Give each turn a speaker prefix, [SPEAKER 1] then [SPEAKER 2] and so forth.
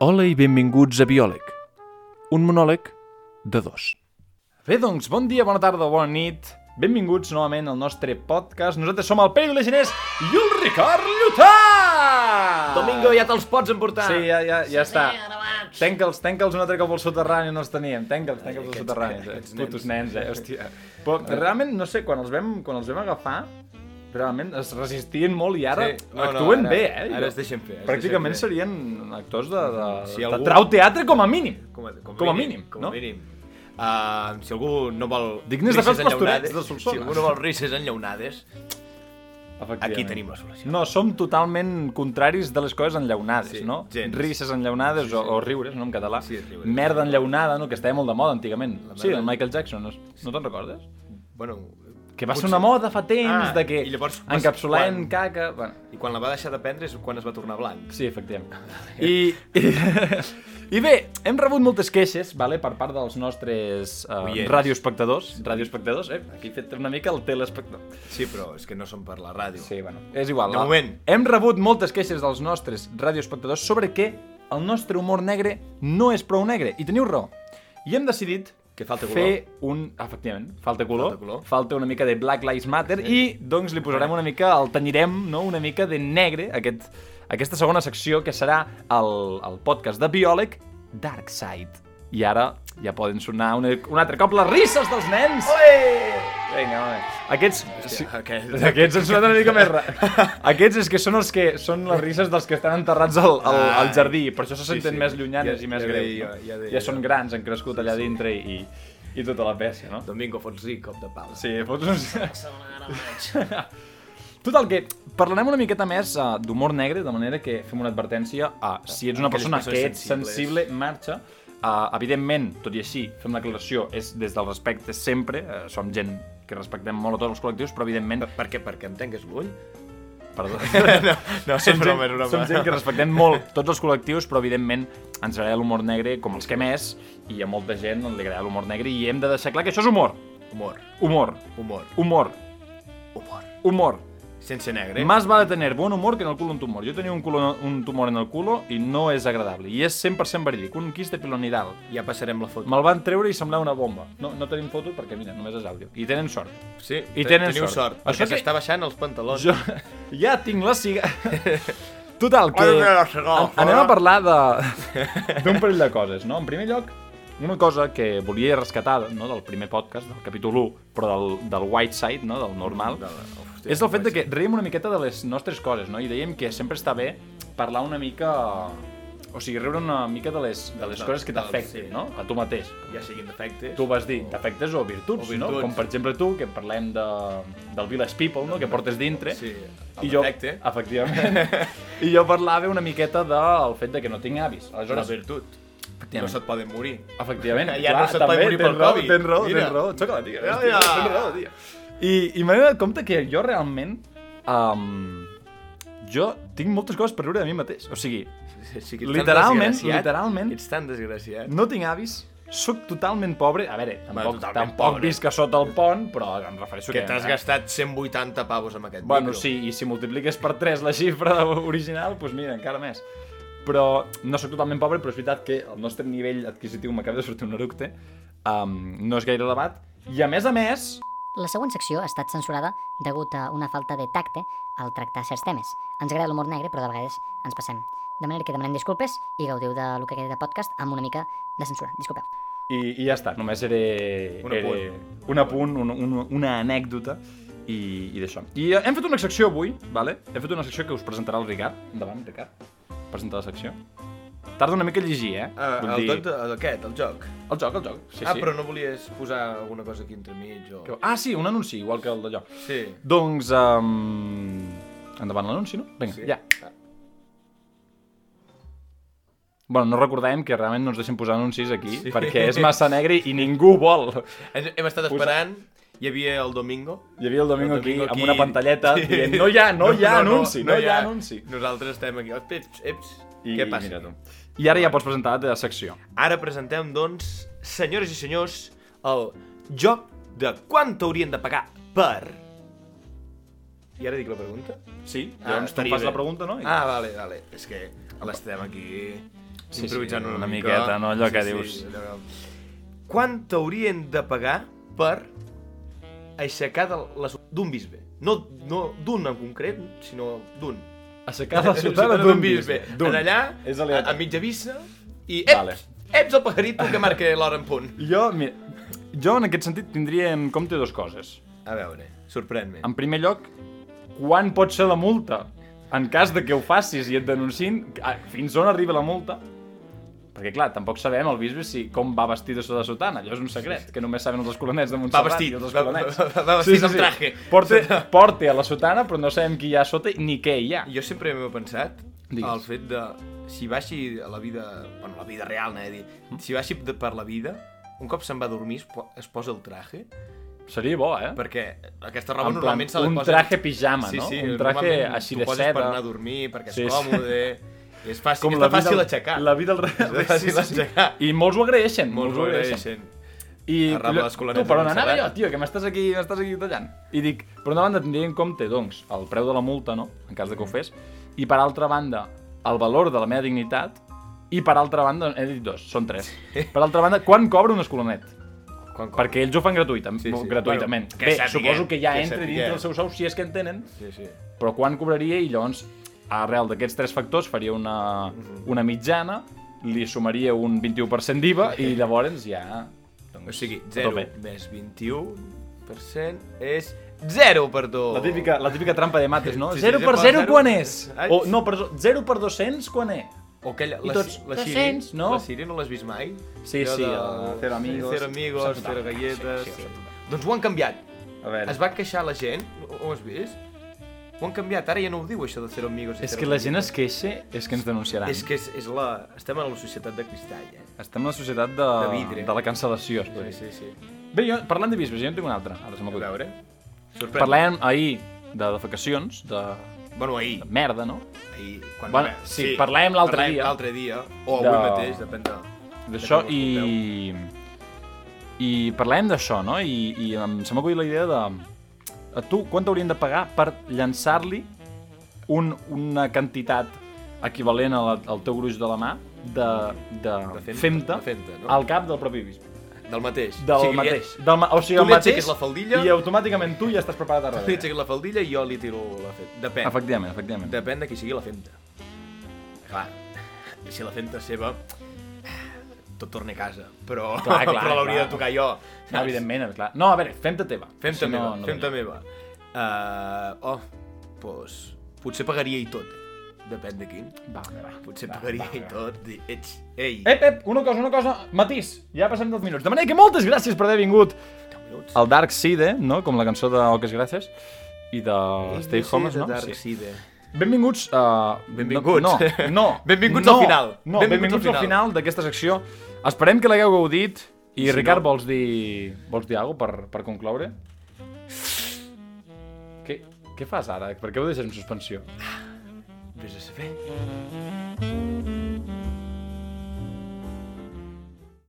[SPEAKER 1] Hola i benvinguts a Biòleg, un monòleg de dos.
[SPEAKER 2] Bé, doncs, bon dia, bona tarda o bona nit. Benvinguts novament al nostre podcast. Nosaltres som el Pere Iglesias i el Ricard Llotà!
[SPEAKER 3] Domingo, ja te'ls pots emportar.
[SPEAKER 2] Sí, ja, ja, ja està. Tanca'ls, tanca'ls un altre cop al soterrani, no els teníem. Tanca'ls, tanca'ls al
[SPEAKER 3] aquests-
[SPEAKER 2] soterrani. eh?
[SPEAKER 3] aquests nens.
[SPEAKER 2] Putos nens, eh? Hòstia. Però realment, no sé, quan els vam, quan els vam agafar, realment es resistien molt i ara
[SPEAKER 3] Sí. No, no,
[SPEAKER 2] actuen
[SPEAKER 3] ara-
[SPEAKER 2] bé, eh?
[SPEAKER 3] ara es deixen fer, es
[SPEAKER 2] Pràcticament
[SPEAKER 3] deixen
[SPEAKER 2] serien actors de, de,
[SPEAKER 3] Si
[SPEAKER 2] de
[SPEAKER 3] algú-
[SPEAKER 2] trau teatre com a mínim.
[SPEAKER 3] Com a, com
[SPEAKER 2] Com a mínim,
[SPEAKER 3] com
[SPEAKER 2] no?
[SPEAKER 3] a mínim. Uh, si algú no vol
[SPEAKER 2] Dignes de fer els
[SPEAKER 3] risses
[SPEAKER 2] pastorets
[SPEAKER 3] enllaunades-
[SPEAKER 2] de Solsona.
[SPEAKER 3] Si algú no vol risses enllaunades,
[SPEAKER 2] Efectivament.
[SPEAKER 3] Aquí tenim la solució.
[SPEAKER 2] No, som totalment contraris de les coses enllaunades,
[SPEAKER 3] Sí,
[SPEAKER 2] no?
[SPEAKER 3] gens.
[SPEAKER 2] Risses enllaunades o, o riures, no, en català.
[SPEAKER 3] Sí, riures.
[SPEAKER 2] Merda enllaunada, no, que estava molt de moda antigament.
[SPEAKER 3] La
[SPEAKER 2] Sí,
[SPEAKER 3] merda-
[SPEAKER 2] el Michael Jackson, no, no te'n recordes?
[SPEAKER 3] bueno...
[SPEAKER 2] Que va ser
[SPEAKER 3] potser-
[SPEAKER 2] una moda fa temps,
[SPEAKER 3] Ah,
[SPEAKER 2] de que
[SPEAKER 3] i llavors va ser
[SPEAKER 2] encapsulant
[SPEAKER 3] quan-
[SPEAKER 2] caca... Bueno,
[SPEAKER 3] I quan la va deixar de prendre és quan es va tornar blanc.
[SPEAKER 2] Sí, efectivament. I, i, i bé, hem rebut moltes queixes vale, per part dels nostres uh,
[SPEAKER 3] Oients.
[SPEAKER 2] radioespectadors. Radioespectadors, eh? Aquí he fet una mica el telespectador.
[SPEAKER 3] Sí, però és que no som per la ràdio.
[SPEAKER 2] Sí, bueno, és igual.
[SPEAKER 3] De
[SPEAKER 2] va.
[SPEAKER 3] moment.
[SPEAKER 2] Hem rebut moltes queixes dels nostres radioespectadors sobre que el nostre humor negre no és prou negre. I teniu raó. I hem decidit
[SPEAKER 3] Que falta
[SPEAKER 2] fer un... ah, Efectivament, falta color,
[SPEAKER 3] Falta color.
[SPEAKER 2] falta una mica de Black Lives Matter i doncs li posarem una mica, el tenyirem no? una mica de negre, aquest, aquesta segona secció que serà el, el podcast de biòleg Dark Side. I ara ja poden sonar una, un altre cop les risses dels nens.
[SPEAKER 3] Eh!
[SPEAKER 2] Vinga, home. Aquests...
[SPEAKER 3] Hòstia, aquest-
[SPEAKER 2] Aquests han sonat una mica més ra... Aquests és que són els que són les risses dels que estan enterrats al, al, al
[SPEAKER 3] Ah,
[SPEAKER 2] jardí, per això se
[SPEAKER 3] sí,
[SPEAKER 2] senten
[SPEAKER 3] sí.
[SPEAKER 2] més llunyanes
[SPEAKER 3] Ja-
[SPEAKER 2] i més
[SPEAKER 3] ja
[SPEAKER 2] greus.
[SPEAKER 3] deia
[SPEAKER 2] no?
[SPEAKER 3] jo, ja deia
[SPEAKER 2] ja
[SPEAKER 3] jo.
[SPEAKER 2] són grans, han crescut allà dintre i, i tota la peça, no?
[SPEAKER 3] Domingo, fots-li cop de pala.
[SPEAKER 2] Sí, fots uns... Total, que parlarem una miqueta més uh, d'humor negre, de manera que fem una advertència a si ets una
[SPEAKER 3] Aquelles
[SPEAKER 2] persona que
[SPEAKER 3] persones
[SPEAKER 2] ets sensible, marxa. Uh, evidentment, tot i així, fem l'aclaració, és des del respecte sempre, uh, som gent que respectem molt a tots els col·lectius, però evidentment...
[SPEAKER 3] Per, per què? Perquè em tanques l'ull?
[SPEAKER 2] Perdó.
[SPEAKER 3] No, no, és
[SPEAKER 2] som,
[SPEAKER 3] broma,
[SPEAKER 2] gent,
[SPEAKER 3] és broma.
[SPEAKER 2] som gent que respectem molt tots els col·lectius, però evidentment ens agrada l'humor negre com els que més, i a molta gent li agrada l'humor negre, i hem de deixar clar que això és humor.
[SPEAKER 3] Humor,
[SPEAKER 2] Humor.
[SPEAKER 3] humor,
[SPEAKER 2] Humor.
[SPEAKER 3] humor.
[SPEAKER 2] Humor.
[SPEAKER 3] Sense negre.
[SPEAKER 2] Más vale tener buen humor que en el culo un tumor. Jo tenia un, culo, un tumor en el culo i no és agradable. I és 100% verídic. Un quist de pilonidal.
[SPEAKER 3] Ja passarem la foto.
[SPEAKER 2] Me'l van treure i semblava una bomba. No, no tenim foto perquè, mira, només és àudio. I tenen sort.
[SPEAKER 3] Sí,
[SPEAKER 2] I
[SPEAKER 3] te-
[SPEAKER 2] tenen
[SPEAKER 3] teniu
[SPEAKER 2] sort.
[SPEAKER 3] sort.
[SPEAKER 2] Això
[SPEAKER 3] perquè
[SPEAKER 2] que-
[SPEAKER 3] s'està baixant els pantalons.
[SPEAKER 2] Jo ja tinc la ciga... Total, que...
[SPEAKER 3] Ai, mira, cigarra,
[SPEAKER 2] an- anem a
[SPEAKER 3] fora.
[SPEAKER 2] parlar de... d'un parell de coses, no? En primer lloc, una cosa que volia rescatar no, del primer podcast, del capítol 1, però del, del white side, no, del normal,
[SPEAKER 3] Del- hòstia,
[SPEAKER 2] és el fet de
[SPEAKER 3] white
[SPEAKER 2] que reiem una miqueta de les nostres coses, no? I dèiem que sempre està bé parlar una mica... O sigui, riure una mica de les, de les
[SPEAKER 3] Del-
[SPEAKER 2] coses que
[SPEAKER 3] del-
[SPEAKER 2] t'afecten,
[SPEAKER 3] sí.
[SPEAKER 2] no? A tu mateix.
[SPEAKER 3] Ja siguin defectes.
[SPEAKER 2] Tu vas dir defectes o virtuts,
[SPEAKER 3] O
[SPEAKER 2] no?
[SPEAKER 3] virtuts.
[SPEAKER 2] Com per exemple tu, que parlem de, del Village People, no? Que portes dintre.
[SPEAKER 3] Sí, el
[SPEAKER 2] I jo,
[SPEAKER 3] defecte.
[SPEAKER 2] efectivament. I jo parlava una miqueta del fet de que no tinc avis.
[SPEAKER 3] La
[SPEAKER 2] Aleshores,
[SPEAKER 3] virtut.
[SPEAKER 2] efectivament,
[SPEAKER 3] No se't poden morir.
[SPEAKER 2] efectivament,
[SPEAKER 3] Ja no se't pot
[SPEAKER 2] també,
[SPEAKER 3] morir
[SPEAKER 2] tens
[SPEAKER 3] pel
[SPEAKER 2] raó,
[SPEAKER 3] Covid.
[SPEAKER 2] Tens raó,
[SPEAKER 3] Mira.
[SPEAKER 2] tens raó. Xoca la tia.
[SPEAKER 3] Ja,
[SPEAKER 2] hòstia,
[SPEAKER 3] ja.
[SPEAKER 2] Tens raó, tia. I, i m'he adonat compte que jo realment... Um, jo tinc moltes coses per riure de mi mateix. O sigui,
[SPEAKER 3] Sí, que ets tan
[SPEAKER 2] literalment,
[SPEAKER 3] desgraciat.
[SPEAKER 2] literalment,
[SPEAKER 3] Ets tan desgraciat.
[SPEAKER 2] no tinc avis, sóc totalment pobre. A veure, tampoc,
[SPEAKER 3] totalment
[SPEAKER 2] tampoc
[SPEAKER 3] pobre.
[SPEAKER 2] visc a sota el pont, però em refereixo eh,
[SPEAKER 3] Que t'has gastat 180 pavos amb aquest
[SPEAKER 2] Bueno,
[SPEAKER 3] micro.
[SPEAKER 2] sí, i si multipliques per 3 la xifra original, doncs mira, encara més. Però no sóc totalment pobre, però és veritat que el nostre nivell adquisitiu, m'acaba de sortir un eructe, um, no és gaire elevat, i a més a més,
[SPEAKER 4] La següent secció ha estat censurada degut a una falta de tacte al tractar certs temes. Ens agrada l'humor negre, però de vegades ens passem. De manera que demanem disculpes i gaudiu de lo que queda de podcast amb una mica de censura. Disculpeu.
[SPEAKER 2] i, i ja està, només era...
[SPEAKER 3] Un apunt.
[SPEAKER 2] Era un apunt, un, un, una anècdota i, i d'això. I eh, hem fet una secció avui, vale? hem fet una secció que us presentarà el Ricard. Endavant, Ricard. Presenta la secció. Tarda una mica a llegir, eh?
[SPEAKER 3] Ah,
[SPEAKER 2] Vull
[SPEAKER 3] el
[SPEAKER 2] dir-
[SPEAKER 3] doc de, el- aquest, el joc.
[SPEAKER 2] El joc, el joc. Sí,
[SPEAKER 3] ah,
[SPEAKER 2] sí.
[SPEAKER 3] però no volies posar alguna cosa aquí entremig o...
[SPEAKER 2] Ah, sí, un anunci, igual que el d'allò.
[SPEAKER 3] Sí.
[SPEAKER 2] Doncs... Um... Endavant l'anunci, no? Vinga,
[SPEAKER 3] sí. Ah.
[SPEAKER 2] sí. ja. Bueno, no recordem que realment no ens deixen posar anuncis aquí, sí.
[SPEAKER 3] Sí.
[SPEAKER 2] perquè és massa negre i ningú vol.
[SPEAKER 3] Hem, hem estat esperant, hi havia el Domingo.
[SPEAKER 2] Hi havia el Domingo,
[SPEAKER 3] El
[SPEAKER 2] aquí, amb una pantalleta
[SPEAKER 3] Sí.
[SPEAKER 2] dient no hi ha, no, hi ha anunci, no, hi ha anunci.
[SPEAKER 3] Nosaltres estem aquí, eps, eps, eps.
[SPEAKER 2] I,
[SPEAKER 3] què passa?
[SPEAKER 2] mira tu. I ara ja pots presentar la teva secció.
[SPEAKER 3] Ara presentem, doncs, senyores i senyors, el joc de quant haurien de pagar per... I ara dic la pregunta?
[SPEAKER 2] Sí, llavors
[SPEAKER 3] Ah,
[SPEAKER 2] tu em
[SPEAKER 3] estaria
[SPEAKER 2] fas
[SPEAKER 3] bé.
[SPEAKER 2] la pregunta, no? I...
[SPEAKER 3] Ah, vale, vale. És que l'estem aquí...
[SPEAKER 2] Sí, sí,
[SPEAKER 3] improvisant una,
[SPEAKER 2] una miqueta, no? Allò que dius.
[SPEAKER 3] allò que- Quant t'haurien de pagar per aixecar de la so- d'un bisbe? No, no d'un en concret, sinó d'un.
[SPEAKER 2] Aixecar la
[SPEAKER 3] Ciutadà
[SPEAKER 2] ciutat d'un bisbe.
[SPEAKER 3] En allà,
[SPEAKER 2] És
[SPEAKER 3] a,
[SPEAKER 2] aleatori.
[SPEAKER 3] a mitja vista, i eps,
[SPEAKER 2] Vale.
[SPEAKER 3] eps el pajarito que marca l'hora en punt.
[SPEAKER 2] Jo, mira, jo en aquest sentit tindria en compte dues coses.
[SPEAKER 3] A veure, sorprèn-me.
[SPEAKER 2] En primer lloc, quan pot ser la multa? En cas de que ho facis i et denunciïn, a- fins on arriba la multa? Perquè, clar, tampoc sabem el bisbe si com va vestit de sota sotana. Allò és un secret, que només saben els escolanets de Montserrat
[SPEAKER 3] vestit,
[SPEAKER 2] i els
[SPEAKER 3] va-
[SPEAKER 2] escolanets.
[SPEAKER 3] va- va vestit amb traje.
[SPEAKER 2] Porte, porte a la sotana, però no sabem qui hi ha a sota ni què hi ha.
[SPEAKER 3] Jo sempre m'he pensat
[SPEAKER 2] Digues.
[SPEAKER 3] el fet de, si baixi a la vida, bueno, la vida real, anava a dir,
[SPEAKER 2] Mm.
[SPEAKER 3] si baixi de, per la vida, un cop se'n va a dormir es, po es posa el traje,
[SPEAKER 2] Seria bo, eh?
[SPEAKER 3] perquè aquesta roba
[SPEAKER 2] En plan,
[SPEAKER 3] normalment se la
[SPEAKER 2] un
[SPEAKER 3] posa...
[SPEAKER 2] traje pijama,
[SPEAKER 3] sí,
[SPEAKER 2] no?
[SPEAKER 3] Sí,
[SPEAKER 2] Un traje
[SPEAKER 3] normalment
[SPEAKER 2] així
[SPEAKER 3] t'ho
[SPEAKER 2] de
[SPEAKER 3] poses per
[SPEAKER 2] seda.
[SPEAKER 3] anar a dormir, perquè és
[SPEAKER 2] Sí, sí.
[SPEAKER 3] còmode, i és fàcil, és tan fàcil aixecar.
[SPEAKER 2] La vida al revés.
[SPEAKER 3] És fàcil aixecar.
[SPEAKER 2] I molts ho agraeixen.
[SPEAKER 3] Molts ho agraeixen.
[SPEAKER 2] I
[SPEAKER 3] A Rambla dels Colonets
[SPEAKER 2] tu, per
[SPEAKER 3] de
[SPEAKER 2] on anava jo,
[SPEAKER 3] Montserrat.
[SPEAKER 2] tio, que m'estàs aquí, m'estàs aquí tallant. I dic, per una banda tindria en compte, doncs, el preu de la multa, no?, en cas de
[SPEAKER 3] Mm.
[SPEAKER 2] que ho fes, i per altra banda, el valor de la meva dignitat, i per altra banda, he dit dos, són tres. Per altra banda, quan cobra un escolanet?
[SPEAKER 3] Quan cobra?
[SPEAKER 2] Perquè ells ho fan gratuïtament.
[SPEAKER 3] Sí,
[SPEAKER 2] Sí,
[SPEAKER 3] sí.
[SPEAKER 2] sí. gratuïtament.
[SPEAKER 3] Bueno, que
[SPEAKER 2] Bé,
[SPEAKER 3] sapiguem,
[SPEAKER 2] suposo que ja
[SPEAKER 3] que
[SPEAKER 2] entra
[SPEAKER 3] sapiguem.
[SPEAKER 2] dintre el seu sou, si és que en tenen,
[SPEAKER 3] Sí, sí.
[SPEAKER 2] però quan cobraria i llavors arrel d'aquests tres factors faria una, una mitjana li sumaria un 21% d'IVA i llavors ja... Doncs,
[SPEAKER 3] O sigui,
[SPEAKER 2] a
[SPEAKER 3] 0
[SPEAKER 2] tope.
[SPEAKER 3] més 21% és 0, perdó.
[SPEAKER 2] La típica, la típica trampa de mates, no?
[SPEAKER 3] Sí, sí,
[SPEAKER 2] 0
[SPEAKER 3] ja
[SPEAKER 2] per
[SPEAKER 3] quan
[SPEAKER 2] 0
[SPEAKER 3] zero-
[SPEAKER 2] quan és?
[SPEAKER 3] Ai.
[SPEAKER 2] O, no, perdó, 0 per 200 quan és?
[SPEAKER 3] O aquella,
[SPEAKER 2] I
[SPEAKER 3] la,
[SPEAKER 2] tots,
[SPEAKER 3] la,
[SPEAKER 2] "Te
[SPEAKER 3] Siri,
[SPEAKER 2] sents?", no?
[SPEAKER 3] La Siri no l'has vist mai?
[SPEAKER 2] Sí,
[SPEAKER 3] Allò
[SPEAKER 2] sí, el Cero Amigos.
[SPEAKER 3] Cero
[SPEAKER 2] S'ha
[SPEAKER 3] amigos,
[SPEAKER 2] tocat.
[SPEAKER 3] cero galletes...
[SPEAKER 2] Sí, sí, s'ha
[SPEAKER 3] doncs ho han canviat.
[SPEAKER 2] A veure...
[SPEAKER 3] Es va queixar la gent, ho, ho has vist? Ho han canviat, ara ja no ho diu això de cero amigos i
[SPEAKER 2] És
[SPEAKER 3] cero
[SPEAKER 2] que la gent es
[SPEAKER 3] galletes.
[SPEAKER 2] queixa, és que ens denunciaran.
[SPEAKER 3] És que és, és la... Estem a la societat de cristall, eh?
[SPEAKER 2] Estem en la societat de,
[SPEAKER 3] De vidre.
[SPEAKER 2] de la cancel·lació. es pot dir.
[SPEAKER 3] sí, sí.
[SPEAKER 2] Bé, jo, parlant de bisbes, jo en tinc una altra. Ara se
[SPEAKER 3] A
[SPEAKER 2] m'acut.
[SPEAKER 3] veure... Sorprèn.
[SPEAKER 2] Parlàvem ahir de defecacions, de,
[SPEAKER 3] Bueno, ahir.
[SPEAKER 2] de merda, no?
[SPEAKER 3] ahir quan...
[SPEAKER 2] Bueno, sí, parlàvem l'altre
[SPEAKER 3] parlàvem
[SPEAKER 2] dia.
[SPEAKER 3] l'altre dia. O avui
[SPEAKER 2] De-
[SPEAKER 3] mateix, depèn de...
[SPEAKER 2] d'això
[SPEAKER 3] Depèn de com ho
[SPEAKER 2] i... I parlem d'això, no? I, i em, se m'acull la idea de... A tu, quant t'haurien de pagar per llançar-li un, una quantitat equivalent a la, al teu gruix de la mà de, de,
[SPEAKER 3] De
[SPEAKER 2] femta,
[SPEAKER 3] femta, de femta, no?
[SPEAKER 2] al cap del propi bisbe.
[SPEAKER 3] Del mateix.
[SPEAKER 2] Del
[SPEAKER 3] O sigui, li-
[SPEAKER 2] mateix. Del, ma- o sigui,
[SPEAKER 3] tu
[SPEAKER 2] el
[SPEAKER 3] li
[SPEAKER 2] mateix,
[SPEAKER 3] aixeques la faldilla-
[SPEAKER 2] i automàticament tu ja estàs preparat a
[SPEAKER 3] Li
[SPEAKER 2] darrere.
[SPEAKER 3] aixeques la faldilla i jo li tiro la femta. Depèn.
[SPEAKER 2] Efectivament, efectivament.
[SPEAKER 3] Depèn de qui sigui la femta. Clar, si la femta és seva, tot torna a casa. Però,
[SPEAKER 2] Clar, clar,
[SPEAKER 3] però l'hauria
[SPEAKER 2] clar.
[SPEAKER 3] de tocar jo.
[SPEAKER 2] No, Ah, evidentment, clar. No, a veure, femta teva.
[SPEAKER 3] Femta
[SPEAKER 2] Si no,
[SPEAKER 3] meva,
[SPEAKER 2] no
[SPEAKER 3] femta
[SPEAKER 2] venia.
[SPEAKER 3] meva. Uh, oh, doncs, potser pagaria i tot. Depèn de quin.
[SPEAKER 2] Va, va, va.
[SPEAKER 3] Potser
[SPEAKER 2] Va,
[SPEAKER 3] pagaria
[SPEAKER 2] va,
[SPEAKER 3] i
[SPEAKER 2] va.
[SPEAKER 3] tot. Dir, ets, ei,
[SPEAKER 2] Ep, ep, una cosa, una cosa, matís, ja passem dels minuts. De manera que moltes gràcies per haver vingut
[SPEAKER 3] minuts.
[SPEAKER 2] al Dark Side, no? com la cançó de Oques Gràcies, i de Stay Home, no?
[SPEAKER 3] Dark Side.
[SPEAKER 2] Benvinguts a...
[SPEAKER 3] Benvinguts.
[SPEAKER 2] No, no.
[SPEAKER 3] Benvinguts
[SPEAKER 2] no,
[SPEAKER 3] al final.
[SPEAKER 2] No, benvinguts, al final, d'aquesta secció. Esperem que l'hagueu gaudit. I,
[SPEAKER 3] si
[SPEAKER 2] Ricard,
[SPEAKER 3] no-
[SPEAKER 2] vols dir... Vols dir alguna per, per concloure? Què, què fas ara? Per què ho deixes en suspensió?
[SPEAKER 3] Vés a saber.